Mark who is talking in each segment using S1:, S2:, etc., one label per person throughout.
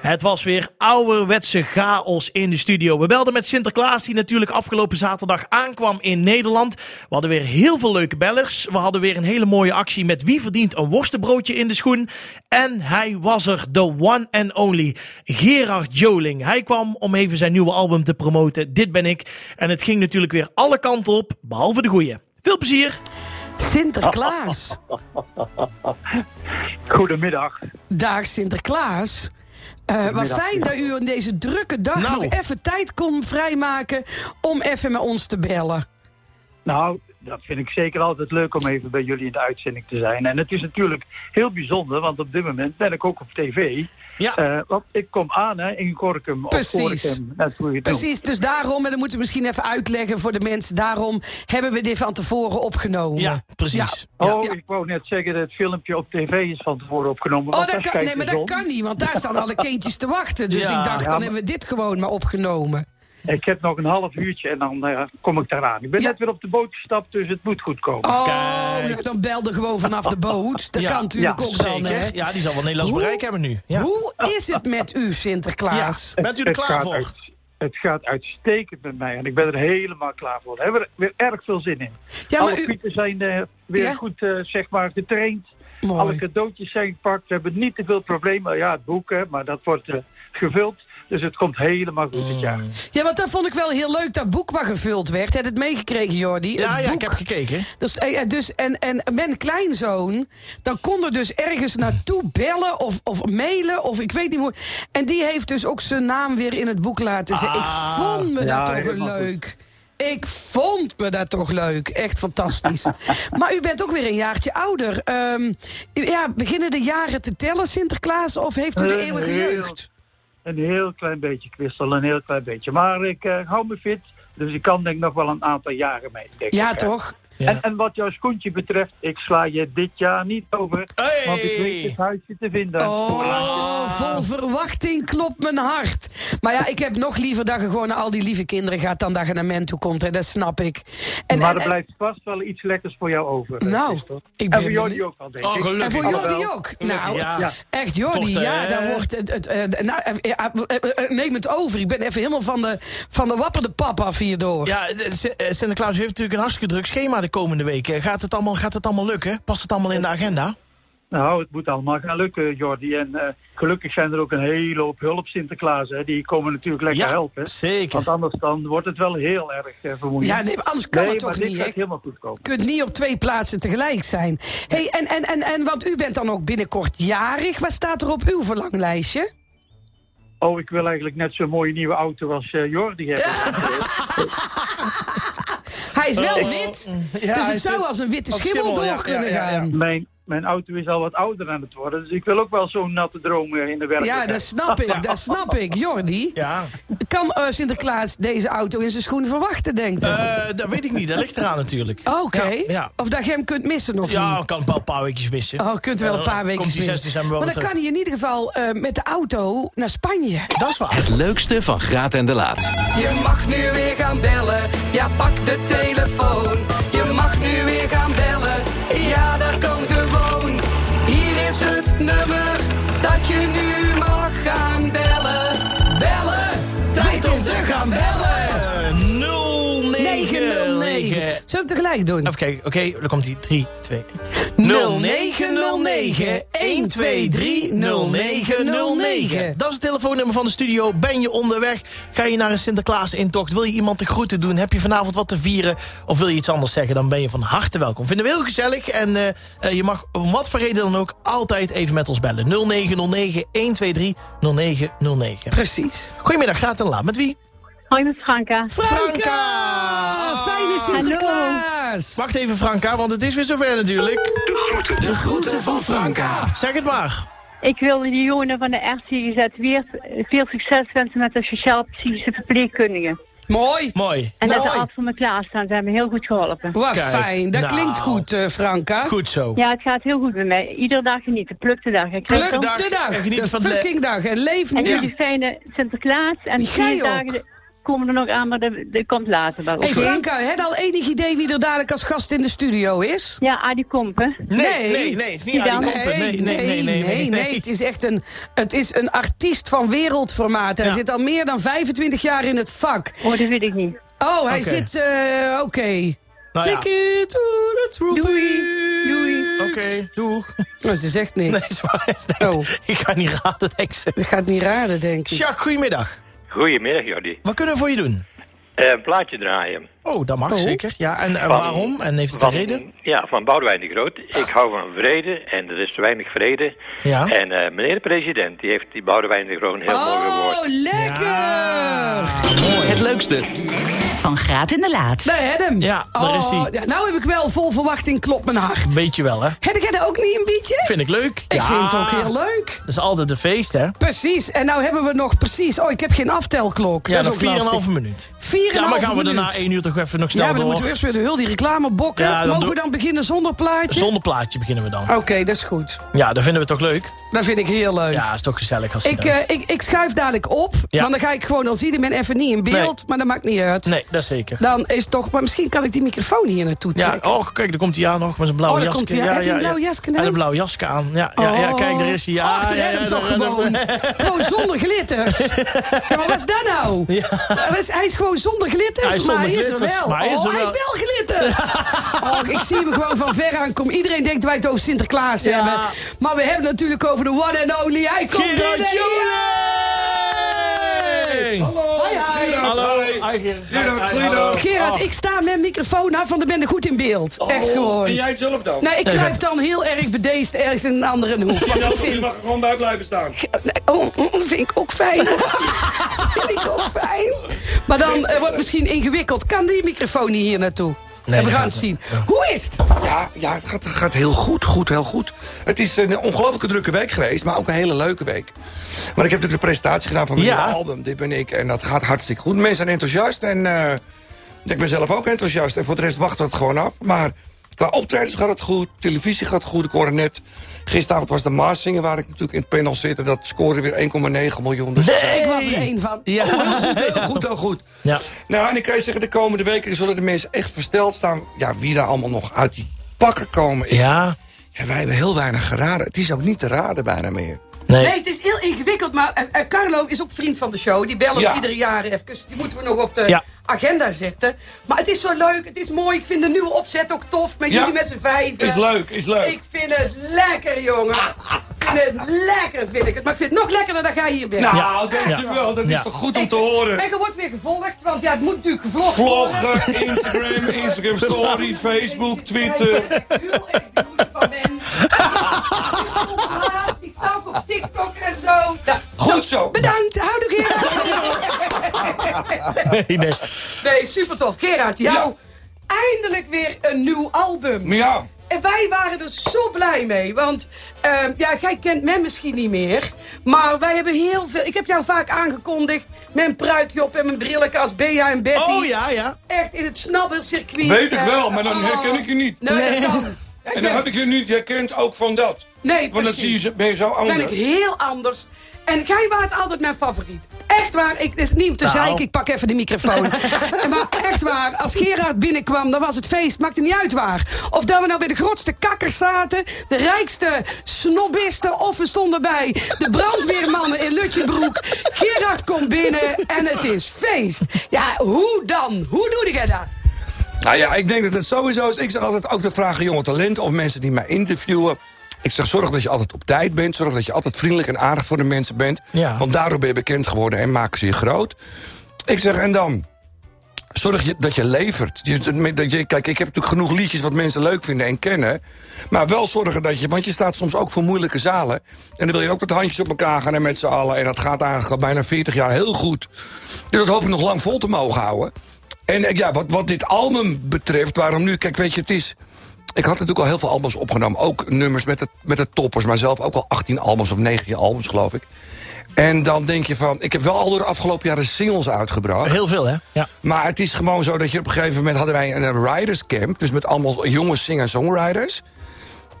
S1: Het was weer ouderwetse chaos in de studio. We belden met Sinterklaas, die natuurlijk afgelopen zaterdag aankwam in Nederland. We hadden weer heel veel leuke bellers. We hadden weer een hele mooie actie met Wie verdient een worstenbroodje in de schoen. En hij was er, the one and only, Gerard Joling. Hij kwam om even zijn nieuwe album te promoten, Dit Ben Ik. En het ging natuurlijk weer alle kanten op, behalve de goeie. Veel plezier!
S2: Sinterklaas.
S3: Goedemiddag.
S2: Dag Sinterklaas. Eh wat fijn dat u in deze drukke dag
S1: Nou.
S2: nog even tijd kon vrijmaken om even met ons te bellen.
S1: Oh.
S3: Nou, dat vind ik zeker altijd leuk om even bij jullie in de uitzending te zijn. En het is natuurlijk heel bijzonder, want op dit moment ben ik ook op tv.
S1: Ja.
S3: Eh, want ik kom aan hè, in Gorkum.
S2: Precies.
S3: Of Gorinchem, net hoe je het noemt.
S2: Precies, dus daarom, en dat moeten we misschien even uitleggen voor de mensen, daarom hebben we dit van tevoren opgenomen.
S1: Ja, precies.
S3: Oh,
S2: Ja.
S3: ik wou net zeggen dat het filmpje op tv is van tevoren opgenomen.
S2: Oh,
S3: want
S2: dat
S3: daar
S2: kan,
S3: schijnt
S2: nee, maar
S3: de
S2: dat
S3: zon.
S2: kan niet, want daar staan alle kindjes te wachten. Dus
S1: Ja.
S2: ik dacht,
S3: Ja,
S2: dan
S3: maar-
S2: hebben we dit gewoon maar opgenomen.
S3: Ik heb nog een half uurtje en dan eh, kom ik daaraan. Ik ben
S2: Ja.
S3: net weer op de boot gestapt, dus het moet goed komen.
S2: Oh,
S1: Kijk.
S2: nou, dan belde gewoon vanaf de boot. Dat
S1: Ja,
S2: kan natuurlijk
S3: ja,
S2: ook dan, hè?
S1: Zeker. Ja, die zal wel Nederlands
S2: Hoe-
S1: bereik hebben nu. Ja.
S2: Hoe is het met u, Sinterklaas?
S1: Ja. Bent u er
S3: Het
S1: klaar
S3: gaat
S1: voor?
S3: uit- het gaat uitstekend met mij en ik ben er helemaal klaar voor. We hebben er weer erg veel zin in.
S2: Ja, maar
S3: Alle
S2: u-
S3: pieten zijn eh, weer
S2: Ja?
S3: goed eh, zeg maar, getraind.
S2: Mooi.
S3: Alle cadeautjes zijn gepakt. We hebben niet te veel problemen. Ja, het boek, hè, maar dat wordt eh, gevuld. Dus het komt helemaal goed dit jaar.
S2: Ja, want dat vond ik wel heel leuk, dat boek waar gevuld werd. Heb je het meegekregen, Jordi?
S1: Ja, ja,
S2: het boek.
S1: ik heb gekeken.
S2: Dus, eh, eh, dus, en, en mijn kleinzoon, dan kon er dus ergens naartoe bellen of, of mailen of ik weet niet hoe. En die heeft dus ook zijn naam weer in het boek laten zetten.
S1: Ah,
S2: ik vond me
S3: ja,
S2: dat toch
S3: helemaal goed.
S2: leuk. Ik vond me dat toch leuk. Echt fantastisch. maar u bent ook weer een jaartje ouder. Ehm, ja, beginnen de jaren te tellen, Sinterklaas? Of heeft u de
S3: Eh,
S2: eeuwige
S3: heel-
S2: jeugd?
S3: Een heel klein beetje, Christel, een heel klein beetje. Maar ik eh, hou me fit, dus ik kan denk ik nog wel een aantal jaren mee. denk ik,
S2: Ja,
S3: hè.
S2: toch?
S1: Ja.
S3: En, en wat jouw schoentje betreft, ik sla je dit jaar niet over.
S1: Hey!
S3: Want ik weet het huisje te vinden.
S2: Oh,
S1: Ah.
S2: vol verwachting klopt mijn hart. Maar ja, ik heb nog liever dat je gewoon naar al die lieve kinderen gaat... dan dat je naar men toe komt, hè. dat snap ik. En,
S3: maar
S2: en-
S3: er blijft vast wel iets lekkers voor jou over. eh,
S2: Nou,
S3: Christel.
S2: ik ben
S3: en voor
S2: benieuwd.
S3: Jordi ook wel, denk
S1: Oh,
S3: ik.
S1: gelukkig.
S2: en voor Jordi
S3: Jawel.
S2: ook.
S1: Gelukkig,
S2: Nou,
S1: ja.
S3: Ja.
S2: echt
S1: Toch,
S2: Jordi,
S1: hè?
S2: ja, daar wordt het... het eh, nou, eh, eh, eh, eh, neem het over, ik ben even helemaal van de, van de wapperde pap af hierdoor.
S1: Ja, de- Sin- eh, Sinterklaas heeft natuurlijk een hartstikke druk schema de komende weken. Gaat het allemaal, gaat het allemaal lukken? Past het allemaal in de agenda?
S3: Nou, het moet allemaal gaan lukken, Jordi. En eh, gelukkig zijn er ook een hele hoop hulp Sinterklaas. Hè. Die komen natuurlijk lekker helpen.
S1: zeker.
S3: Want anders dan wordt het wel heel erg eh, vermoeiend.
S2: Ja, nee, maar anders kan
S3: Nee,
S2: het ook
S3: maar dit
S2: niet, hè.
S3: gaat helemaal goed komen.
S2: Je kunt niet op twee plaatsen tegelijk zijn. hey, en, en, en, en want u bent dan ook binnenkort jarig. Wat staat er op uw verlanglijstje?
S3: Oh, ik wil eigenlijk net zo'n mooie nieuwe auto als eh, Jordi hebben.
S2: Hij is wel wit.
S1: Eh, Ja,
S2: dus
S1: hij
S2: het
S1: is
S2: zou
S1: een-
S2: als een witte
S1: als
S2: schimmel,
S1: schimmel, ja,
S2: door kunnen
S1: ja, ja, ja.
S2: gaan.
S3: Mijn, mijn auto is al wat ouder aan het worden. Dus ik wil ook wel zo'n natte droom eh, in de werkelijkheid.
S2: Ja, dat snap ik, dat snap ik. Jordi,
S1: Ja,
S2: kan eh, Sinterklaas deze auto in zijn schoen verwachten, denkt hij?
S1: Eh, dat weet ik niet. Dat ligt eraan natuurlijk.
S2: Oké.
S1: Eh, Ja, ja.
S2: Of dat je hem kunt missen of
S1: Ja,
S2: niet?
S1: ik kan wel een paar weekjes missen.
S2: Oh, kunt u wel een
S1: Ja,
S2: paar
S1: dan
S2: weken
S1: komt die 6
S2: missen.
S1: december wel
S2: Maar dan
S1: weer
S2: kan hij in ieder geval eh, met de auto naar Spanje.
S1: Dat is waar.
S4: Het leukste van Graat en de Laat.
S2: Je mag nu weer gaan bellen. Ja, pak de telefoon. Je mag nu weer gaan bellen. Ja, dat kan gewoon. Hier is het nummer dat je nu mag gaan bellen. Bellen! Tijd om te gaan bellen!
S1: Eh, 0909.
S2: 909. Zullen we hem tegelijk doen?
S1: Even kijken. Oké, dan komt die 3, 2, 0909-123-0909. Dat is het telefoonnummer van de studio. Ben je onderweg? Ga je naar een Sinterklaas-intocht? Wil je iemand de groeten doen? Heb je vanavond wat te vieren? Of wil je iets anders zeggen? Dan ben je van harte welkom. Vinden we heel gezellig. En eh, eh, je mag om wat voor reden dan ook altijd even met ons bellen. 0909-123-0909.
S2: Precies.
S1: Goedemiddag, gaat en laat. Met wie?
S5: Hoi, met Franka.
S1: Franka!
S2: Ah, Fijne Sinterklaas!
S1: Wacht even, Franka, want het is weer zover natuurlijk.
S4: De groeten van Franka.
S1: Zeg het maar.
S5: Ik wil de jongeren van de RCGZ weer veel succes wensen met de sociaal-psychische verpleegkundigen.
S2: Mooi!
S1: Mooi.
S5: En dat ze
S2: Mooi.
S5: altijd voor me klaarstaan. Ze hebben me heel goed geholpen.
S2: Wat
S1: Kijk,
S2: fijn. Dat
S1: nou.
S2: klinkt goed, eh, Franka.
S1: Goed zo.
S5: Ja, het gaat heel goed met mij. Iedere dag genieten. Pluk de dag. hè,
S2: Pluk
S5: Christel?
S1: dag
S2: de dag.
S1: en geniet
S2: de
S1: van de-
S2: fucking dag. En leef
S5: En
S2: nu.
S5: jullie fijne Sinterklaas. En
S2: Jij
S5: vier
S2: ook.
S5: dagen de,
S6: komen er nog aan, maar dat, dat komt later wel.
S2: Hey
S6: oké?
S2: Franka, heb je al enig idee wie er dadelijk als gast in de studio is?
S6: Ja, aan die komp, hè?
S1: Nee, nee, nee, het is niet
S6: Die
S1: aan die
S6: dan?
S1: kompen. Nee, nee, nee, nee, nee, nee.
S2: Het is echt een, het is een artiest van wereldformaat. Hij
S1: Ja.
S2: zit al meer dan 25 jaar in het vak.
S6: Oh, dat weet ik niet.
S2: Oh, hij
S1: Oké.
S2: zit... eh, Oké.
S1: Nou ja.
S2: Take it to the tropics.
S6: Doei, doei.
S1: Oké, doeg.
S2: Nou, ze zegt
S1: Nee,
S2: niks.
S1: is waar, is denkt,
S2: Oh.
S1: Ik ga niet raden, denk ze.
S2: Dat gaat niet raden, denk ik.
S1: Jacques, goedemiddag.
S7: Goedemiddag Jordi.
S1: Wat kunnen we voor je doen?
S7: Eh, een plaatje draaien.
S1: Oh, dat mag
S2: Oh.
S1: zeker. Ja, en, en
S7: Van-
S1: waarom? En heeft het
S7: van,
S1: een reden?
S7: Ja, van Boudewijn de Groot. Ik hou van vrede en er is te weinig vrede.
S1: Ja.
S7: En eh, meneer de president, die heeft die Boudewijn de Groot een heel mooi
S2: Oh,
S7: woord.
S2: lekker!
S1: Ah, mooi.
S4: Het leukste,
S8: Van Graat in de Laat.
S2: Daar heb hem.
S1: Ja, daar is hij.
S2: ja, Nou heb ik wel vol verwachting klopt mijn hart.
S1: Weet je wel, hè?
S2: Heb jij dat ook niet een beetje?
S1: Vind ik leuk.
S2: Ik vind het ook heel leuk.
S1: Dat is altijd een feest, hè?
S2: Precies, en nou hebben we nog precies... Oh, ik heb geen aftelklok.
S1: Ja,
S2: dat
S1: nog
S2: is ook
S1: 4,5 minuut.
S2: Vier en
S1: Ja, maar
S2: half
S1: gaan we
S2: minuut.
S1: daarna één uur toch even nog
S2: Ja,
S1: snel
S2: maar dan
S1: door.
S2: moeten we eerst weer de hul die reclame bokken.
S1: Ja, dan
S2: Mogen we
S1: doe-
S2: dan beginnen zonder plaatje?
S1: Zonder plaatje beginnen we dan.
S2: Oké, dat is goed.
S1: Ja, dat vinden we toch leuk?
S2: Dat vind ik heel leuk.
S1: Ja, is toch gezellig als je
S2: Ik,
S1: dat-
S2: eh, ik, ik schuif dadelijk op,
S1: Ja.
S2: want dan ga ik gewoon als iedereen even niet in beeld, maar dat maakt niet uit.
S1: Nee, dat zeker.
S2: Dan is toch, maar misschien kan ik die microfoon hier naartoe
S1: Ja,
S2: trekken.
S1: oh, kijk, daar komt hij aan nog met zijn blauwe
S2: Oh, daar
S1: jasje.
S2: komt hij aan. Heeft hij een blauw jasje aan?
S1: En een blauw jasje aan. Ja, ja,
S2: Oh.
S1: ja, kijk, daar is hij. Ja,
S2: Ach, daar
S1: ja,
S2: redt
S1: ja,
S2: hem
S1: daar
S2: toch
S1: redt hem.
S2: gewoon. gewoon zonder glitters. Ja, maar wat is dat nou? Hij is- Hij is gewoon zonder glitters,
S1: Hij is
S2: maar,
S1: zonder
S2: hij is
S1: glitters,
S2: er wel.
S1: maar hij is
S2: oh,
S1: er
S2: hij is
S1: wel.
S2: wel glitters. oh, ik zie hem gewoon van ver aankomen. Iedereen denkt dat wij het over Sinterklaas hebben. Maar we hebben het natuurlijk over de one and only. Hij komt
S1: Gerard
S2: binnen.
S1: Joling!
S2: Ja. Hi, hi.
S1: Hallo. Hi, Gerard. Hi, hallo.
S2: Gerard, ik sta met microfoon af, van de ben er goed in beeld. Echt
S1: Oh,
S2: gewoon.
S9: En jij zelf dan?
S2: Nou, ik kruip dan heel erg bedeesd ergens in een andere hoek. Want ik
S9: Je
S2: vind...
S9: mag er gewoon bij blijven staan.
S2: Nee, oh, oh, dat vind ik ook fijn. vind ik ook fijn. Maar dan eh, wordt het misschien ingewikkeld. Kan die microfoon niet hier naartoe?
S1: Nee,
S2: en we
S1: dat
S2: gaan
S1: gaat
S2: het zien. Hoe is het?
S9: Ja, ja het gaat, het gaat heel goed, goed, heel goed. Het is een ongelooflijke drukke week geweest, maar ook een hele leuke week. Maar ik heb natuurlijk de presentatie gedaan van mijn
S1: Ja.
S9: nieuwe album, Dit Ben Ik. En dat gaat hartstikke goed. Mensen zijn enthousiast en eh, ik ben zelf ook enthousiast. En voor de rest wachten we het gewoon af. Maar qua optredens gaat het goed, televisie gaat goed. Ik hoorde net, gisteravond was de Maasingen waar ik natuurlijk in het panel zit. En dat scoorde weer 1,9 miljoen. Dus
S2: Ik was er één van.
S1: Ja.
S9: heel goed, heel goed.
S1: Ja.
S9: Nou, en ik kan je zeggen, de komende weken zullen de mensen echt versteld staan... ja, wie daar allemaal nog uit die pakken komen. Ja.
S1: Ja.
S9: wij hebben heel weinig geraden. Het is ook niet te raden bijna meer.
S2: Nee,
S1: Nee.
S2: het is heel ingewikkeld, maar eh, eh, Carlo is ook vriend van de show. Die bellen we
S9: Ja.
S2: ieder jaar even. dus Die moeten we nog op de
S1: Ja.
S2: agenda zetten. Maar het is zo leuk, het is mooi. Ik vind de nieuwe opzet ook tof. Met
S9: Ja.
S2: jullie met z'n vijven.
S9: Is leuk, is leuk.
S2: Ik vind het lekker, jongen. Ik vind het lekker, vind ik het. Maar ik vind het nog lekkerder dat jij hier bent.
S9: Nou,
S1: Ja.
S9: dankjewel. Dat
S1: Ja.
S9: is toch goed om
S2: Ik-
S9: te horen.
S2: En je wordt weer gevolgd, want ja, het moet natuurlijk gevlogd worden.
S9: Vloggen, Instagram, Instagram Story, Facebook, Twitter.
S2: Ik ben heel erg de moeder van mensen. Ik ben zo laat, Ik sta ook op TikTok en zo. Nou,
S9: Goed zo.
S2: Bedankt, houdoe Gerard.
S1: Nee, nee.
S2: Nee, super tof. Gerard, jou eindelijk weer een nieuw album.
S9: Maar ja,
S2: En wij waren er zo blij mee. Want eh, ja, jij kent men misschien niet meer. Maar wij hebben heel veel. Ik heb jou vaak aangekondigd. Mijn pruikje op en mijn brillenkast. Bea en Betty.
S1: Oh ja, ja.
S2: Echt in het snabbercircuit.
S9: weet ik
S2: Eh,
S9: wel, maar dan
S2: oh.
S9: herken ik je niet.
S2: Nee, dat kan.
S9: En dan heb ik je niet herkend ook van dat.
S2: Nee,
S9: Want dan
S2: precies.
S9: zie je, zo- ben je zo
S2: ben ik
S9: anders.
S2: heel anders. En jij waart altijd mijn favoriet. Echt waar, ik, het is niet om te
S1: Nou.
S2: zeiken, ik pak even de microfoon. En maar echt waar, als Gerard binnenkwam, dan was het feest. Maakt het niet uit waar. Of dat we nou bij de grootste kakkers zaten, de rijkste snobbisten... of we stonden bij de brandweermannen in Lutjebroek. Gerard komt binnen en het is feest. Ja, hoe dan? Hoe doe jij dat?
S9: Nou ja, ik denk dat het sowieso is. Ik zeg altijd ook de vraag aan jonge talenten of mensen die mij interviewen. Ik zeg, zorg dat je altijd op tijd bent. Zorg dat je altijd vriendelijk en aardig voor de mensen bent.
S1: Ja.
S9: Want daardoor ben je bekend geworden en maken ze je groot. Ik zeg, en dan? Zorg je, dat je levert. Je- dat je, kijk, ik heb natuurlijk genoeg liedjes wat mensen leuk vinden en kennen. Maar wel zorgen dat je... Want je staat soms ook voor moeilijke zalen. En dan wil je ook met de handjes op elkaar gaan en met z'n allen. En dat gaat eigenlijk al bijna 40 jaar heel goed. Dus dat hoop ik nog lang vol te mogen houden. En eh, ja, wat, wat dit album betreft, waarom nu? Kijk, weet je, het is... Ik had natuurlijk al heel veel albums opgenomen. Ook nummers met de, met de toppers. Maar zelf ook al 18 albums of 19 albums, geloof ik. En dan denk je van... Ik heb wel al door de afgelopen jaren singles uitgebracht.
S1: Heel veel, hè? Ja.
S9: Maar het is gewoon zo dat je op een gegeven moment hadden wij een riders camp. Dus met allemaal jonge singer-songwriters.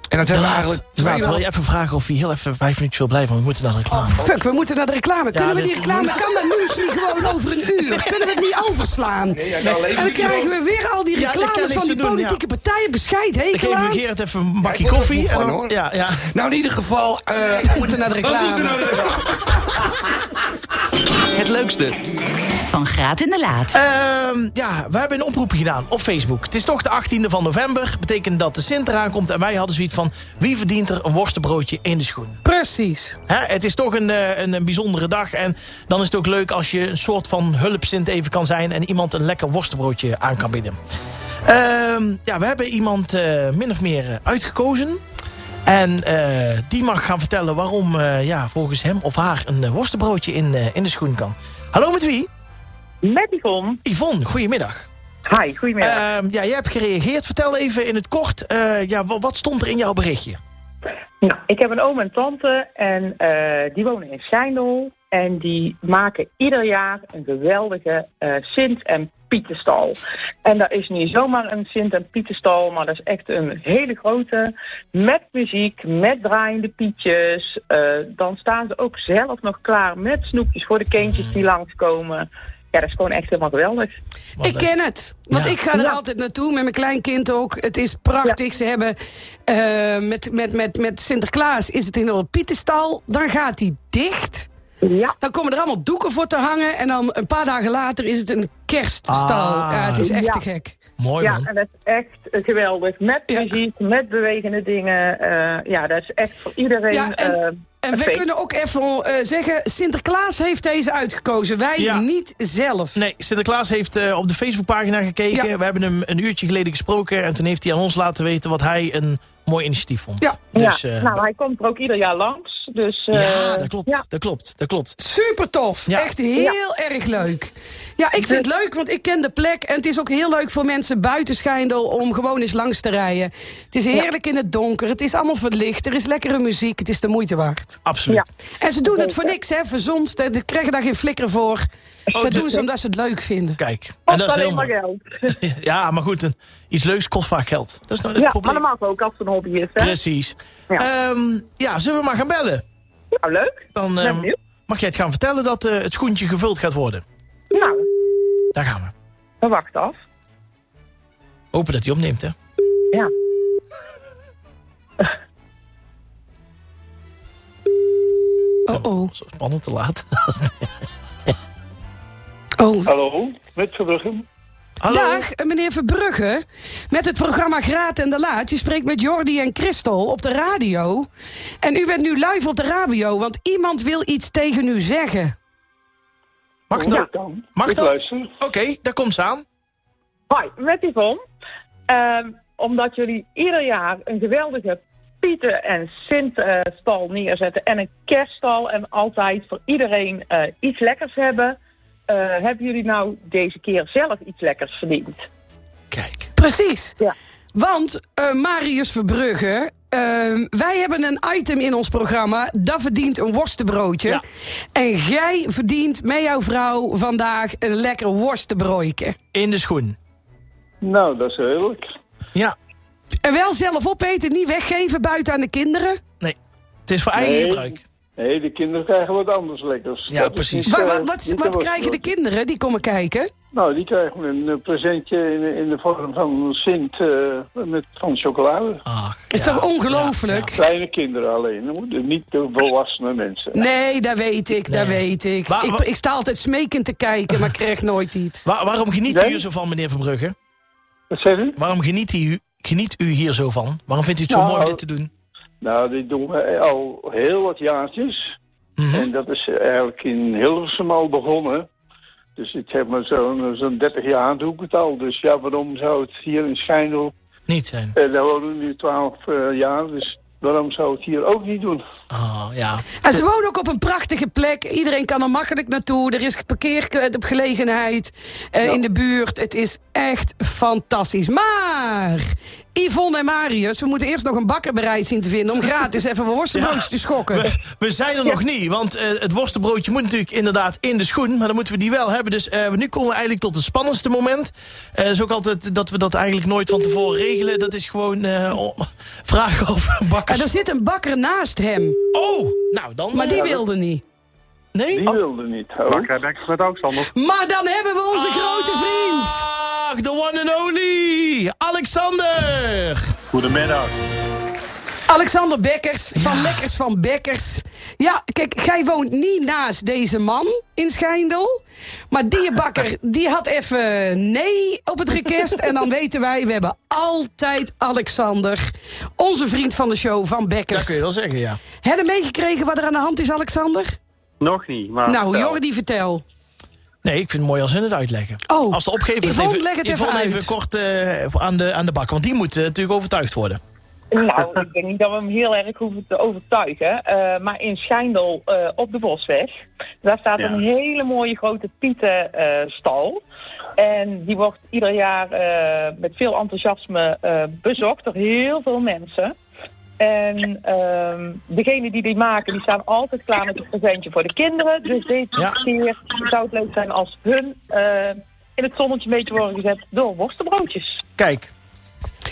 S9: En dat
S1: Te
S9: hebben we
S1: laat.
S9: eigenlijk
S1: Te laat.
S9: tweeënhalf-
S1: Wil je even vragen of je heel even vijf minuten wil blijven? Want we moeten naar de reclame.
S2: Oh, Fuck, we moeten naar de reclame. Kunnen we die
S1: dit-
S2: reclame, kan dat nieuws niet gewoon over een uur? Kunnen we het niet overslaan? en dan krijgen we weer al die
S1: Ja, daar kan
S2: reclames
S1: niks
S2: van die
S1: aan doen,
S2: politieke partijen. Bescheid,
S1: Dan
S2: hekel
S1: geven
S2: aan.
S1: we Gerard even een bakje
S9: ik word er
S1: koffie.
S9: moe
S1: en
S9: van,
S1: dan-
S9: hoor.
S1: Ja, ja.
S9: Nou, in ieder geval... eh,
S2: We moeten naar de
S9: we nou
S2: reclame.
S9: moeten naar de reclame.
S4: Het leukste,
S8: Van Graat in de Laat.
S1: Ehm, ja, we hebben een oproepje gedaan op Facebook. Het is toch de 18e van november. Betekent dat de Sint eraan komt. En wij hadden zoiets van, wie verdient er een worstenbroodje in de schoen?
S2: Precies.
S1: Hè, het is toch een, eh, een, een bijzondere dag. En dan is het ook leuk als je een soort van hulpzint even kan zijn... en iemand een lekker worstenbroodje aan kan bieden. Ehm, ja, we hebben iemand eh, min of meer eh, uitgekozen. En eh, die mag gaan vertellen waarom eh, ja, volgens hem of haar... een eh, worstenbroodje in, eh, in de schoen kan. Hallo, met wie?
S5: Met Yvonne.
S1: Yvonne, goedemiddag.
S5: Hi, goedemiddag.
S1: Ehm, ja, jij hebt gereageerd. Vertel even in het kort, eh, ja, wa- wat stond er in jouw berichtje?
S5: nou, ik heb een oom en tante en eh, die wonen in Seindel. En die maken ieder jaar een geweldige eh, Sint- en Pietenstal. En dat is niet zomaar een Sint- en Pietenstal, maar dat is echt een hele grote. Met muziek, met draaiende pietjes. Eh, dan staan ze ook zelf nog klaar met snoepjes voor de kindjes die langskomen. Ja, dat is gewoon echt helemaal geweldig.
S1: Wat
S2: ik
S1: leuk.
S2: ken het. Want
S1: Ja.
S2: ik ga er
S5: Ja.
S2: altijd naartoe, met mijn kleinkind ook. Het is prachtig. Ze hebben eh, met, met, met, met Sinterklaas is het in een pietenstal. Dan gaat hij dicht.
S5: Ja,
S2: Dan komen er allemaal doeken voor te hangen. En dan een paar dagen later is het een kerststal.
S1: Ah.
S2: ja, het is echt
S5: Ja.
S2: te gek.
S1: Mooi
S5: ja, eh,
S1: man.
S5: en dat is echt geweldig. Met
S2: Oh, Ja.
S5: muziek, met bewegende dingen. eh, ja, dat is echt voor iedereen.
S2: Ja, en-
S5: eh,
S2: En
S5: een
S2: we
S5: feest.
S2: kunnen ook even eh, zeggen, Sinterklaas heeft deze uitgekozen. Wij
S1: Ja.
S2: niet zelf.
S1: Nee, Sinterklaas heeft eh, op de Facebookpagina gekeken.
S2: Ja.
S1: We hebben hem een uurtje geleden gesproken. En toen heeft hij aan ons laten weten wat hij een mooi initiatief vond.
S2: Ja.
S1: dus,
S5: ja.
S1: eh,
S5: nou, hij komt er ook ieder jaar langs. Dus,
S1: ja,
S5: eh,
S1: dat klopt,
S5: ja.
S1: dat klopt, dat klopt.
S2: Super tof.
S1: Ja.
S2: Echt heel erg leuk. Ja, ik vind het leuk, want ik ken de plek. En het is ook heel leuk voor mensen buiten Schijndel om gewoon eens langs te rijden. Het is heerlijk in het donker. Het is allemaal verlicht. Er is lekkere muziek. Het is de moeite waard.
S1: Absoluut.
S2: En ze doen het voor niks, hè? Verzonst. Ze krijgen daar geen flikker voor. dat
S1: Oh, de-
S2: doen ze omdat ze het leuk vinden.
S1: Kijk, en
S5: Kost
S1: dat is heel
S5: alleen maar
S1: mooi.
S5: geld.
S1: Ja, maar goed, een- iets leuks kost vaak geld. Dat is nou het
S5: Ja, maar
S1: probleem.
S5: dat mag ook als het een hobby is. Hè?
S1: Precies.
S5: Ja.
S1: Ehm, ja, zullen we maar gaan bellen?
S5: Nou, leuk.
S1: Dan
S5: Ben
S1: ehm,
S5: benieuwd.
S1: mag jij het gaan vertellen dat eh, het schoentje gevuld gaat worden.
S5: Nou,
S1: Daar gaan we.
S5: we wachten af.
S1: Hopen dat hij opneemt, hè? Ehm,
S5: Ja.
S2: Oh, oh.
S1: Zo spannend te laat.
S2: oh.
S3: Hallo, met Verbruggen.
S1: Hallo.
S2: Dag, eh, meneer Verbrugge. Met het programma Graat en de Laat. Je spreekt met Jordi en Christel op de radio. En u bent nu live op de radio, want iemand wil iets tegen u zeggen.
S1: Mag dat? Mag
S3: Ik
S1: dat?
S3: luister.
S1: Oké, daar komt ze aan.
S5: Hoi, met Yvonne. Ehm, omdat jullie ieder jaar een geweldige Pieten- en Sint-stal neerzetten. En een kerststal. En altijd voor iedereen eh, iets lekkers hebben. eh, hebben jullie nou deze keer zelf iets lekkers verdiend?
S1: Kijk.
S2: Precies.
S5: Ja.
S2: Want eh, Marius Verbrugge, eh, wij hebben een item in ons programma. Dat verdient een worstenbroodje.
S1: Ja.
S2: En jij verdient met jouw vrouw vandaag een lekker worstenbroodje.
S1: In de schoen.
S3: Nou, dat is heerlijk.
S1: Ja.
S2: En wel zelf opeten, niet weggeven buiten aan de kinderen.
S1: Nee. Het is voor eigen
S3: Nee.
S1: gebruik.
S3: Nee, de kinderen krijgen wat anders lekkers.
S1: Ja,
S3: Dat is
S1: precies.
S3: niet,
S2: Wa-
S3: eh,
S2: wa- wat
S3: niet
S2: wat
S3: te
S2: krijgen de
S3: wachten.
S2: kinderen die komen kijken?
S3: Nou, die krijgen een eh, presentje in, in de vorm van Sint eh, met, van chocolade.
S1: Ach,
S2: Is
S1: ja.
S2: toch ongelooflijk?
S1: Ja,
S3: Kleine kinderen alleen, hè, de- niet de volwassene mensen.
S2: Nee, dat weet ik, dat
S1: Nee.
S2: weet ik.
S1: Wa-
S2: ik.
S1: wa-
S2: Ik sta altijd smekend te kijken, maar krijg nooit iets.
S1: Waar- waarom geniet u
S3: Nee?
S1: hier zo van, meneer Verbrugge?
S3: Wat zeg je?
S1: Waarom geniet u, geniet u hier zo van? Waarom vindt u het zo
S3: Nou,
S1: mooi om dit te doen?
S3: Nou, dit doen we al heel wat jaartjes. En dat is eigenlijk in Hilversum al begonnen. Dus ik heb maar zo'n zo'n 30 jaar doe ik het al. Dus ja, waarom zou het hier in Schijndel...
S1: Niet zijn.
S3: Eh, daar wonen we nu 12 eh, jaar, dus Waarom zou het hier ook niet doen?
S1: Oh, ja.
S2: En ze wonen ook op een prachtige plek. Iedereen kan er makkelijk naartoe. Er is parkeergelegenheid eh in de buurt. Het is echt fantastisch. Maar Yvonne en Marius, we moeten eerst nog een bakker bereid zien te vinden... om gratis even een worstenbroodje te schokken.
S1: We, we zijn er nog niet, want eh, het worstenbroodje moet natuurlijk inderdaad in de schoen. Maar dan moeten we die wel hebben. Dus eh, nu komen we eigenlijk tot het spannendste moment. Eh, Het is ook altijd dat we dat eigenlijk nooit van tevoren regelen. Dat is gewoon eh, om- vragen of een bakker...
S2: En er zit een bakker naast hem,
S1: Oh, nou dan...
S2: maar die
S1: eh,
S2: wilde niet.
S1: Nee?
S3: Die wilde niet. Oh.
S7: met afstand.
S2: Maar dan hebben we
S1: Ah.
S2: onze grote vriend.
S1: Ach, de Ah, one and only! Alexander!
S7: Goedemiddag.
S2: Alexander Bekkers van Lekkers van Bekkers. Ja, kijk, jij woont niet naast deze man in Schijndel. Maar die bakker, die had even nee op het request. En dan weten wij, we hebben altijd Alexander. Onze vriend van de show, van
S1: Dat
S2: Bekkers.
S1: kun je wel zeggen, ja.
S2: Hebben meegekregen wat er aan de hand is, Alexander?
S7: Nog niet, maar...
S2: nou, Jordi, vertel.
S1: Nee, ik vind het mooi als ze het uitleggen.
S2: Oh,
S1: Als de opgever
S2: Yvonne,
S1: even,
S2: leg het even
S1: Yvonne
S2: uit.
S1: even kort eh, aan, de, aan de bak. Want die moet eh, natuurlijk overtuigd worden.
S5: Nou, ik denk niet dat we hem heel erg hoeven te overtuigen. eh, maar in Schijndel eh, op de Bosweg, daar staat
S7: Ja.
S5: een hele mooie grote pietenstal. en die wordt ieder jaar eh, met veel enthousiasme eh, bezocht door heel veel mensen. En ehm degene die die maken, die staan altijd klaar met een presentje voor de kinderen. Dus deze
S1: Ja.
S5: keer zou het leuk zijn als hun eh, in het zonnetje een beetje worden gezet door worstenbroodjes.
S1: Kijk,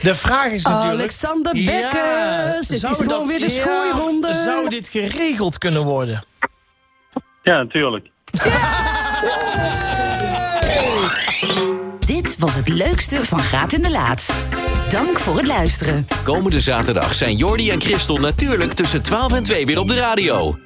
S1: de vraag is
S2: Oh,
S1: natuurlijk...
S2: Alexander
S1: Ja,
S2: Bekkers. dit
S1: zou
S2: is gewoon
S1: dat-
S2: weer de
S1: ja,
S2: schooironde.
S1: Zou dit geregeld kunnen worden?
S7: Ja, natuurlijk.
S8: Dit was het leukste van Graat in de Laat. Dank voor het luisteren.
S4: Komende zaterdag zijn Jordi en Christel natuurlijk tussen 12 en 2 weer op de radio.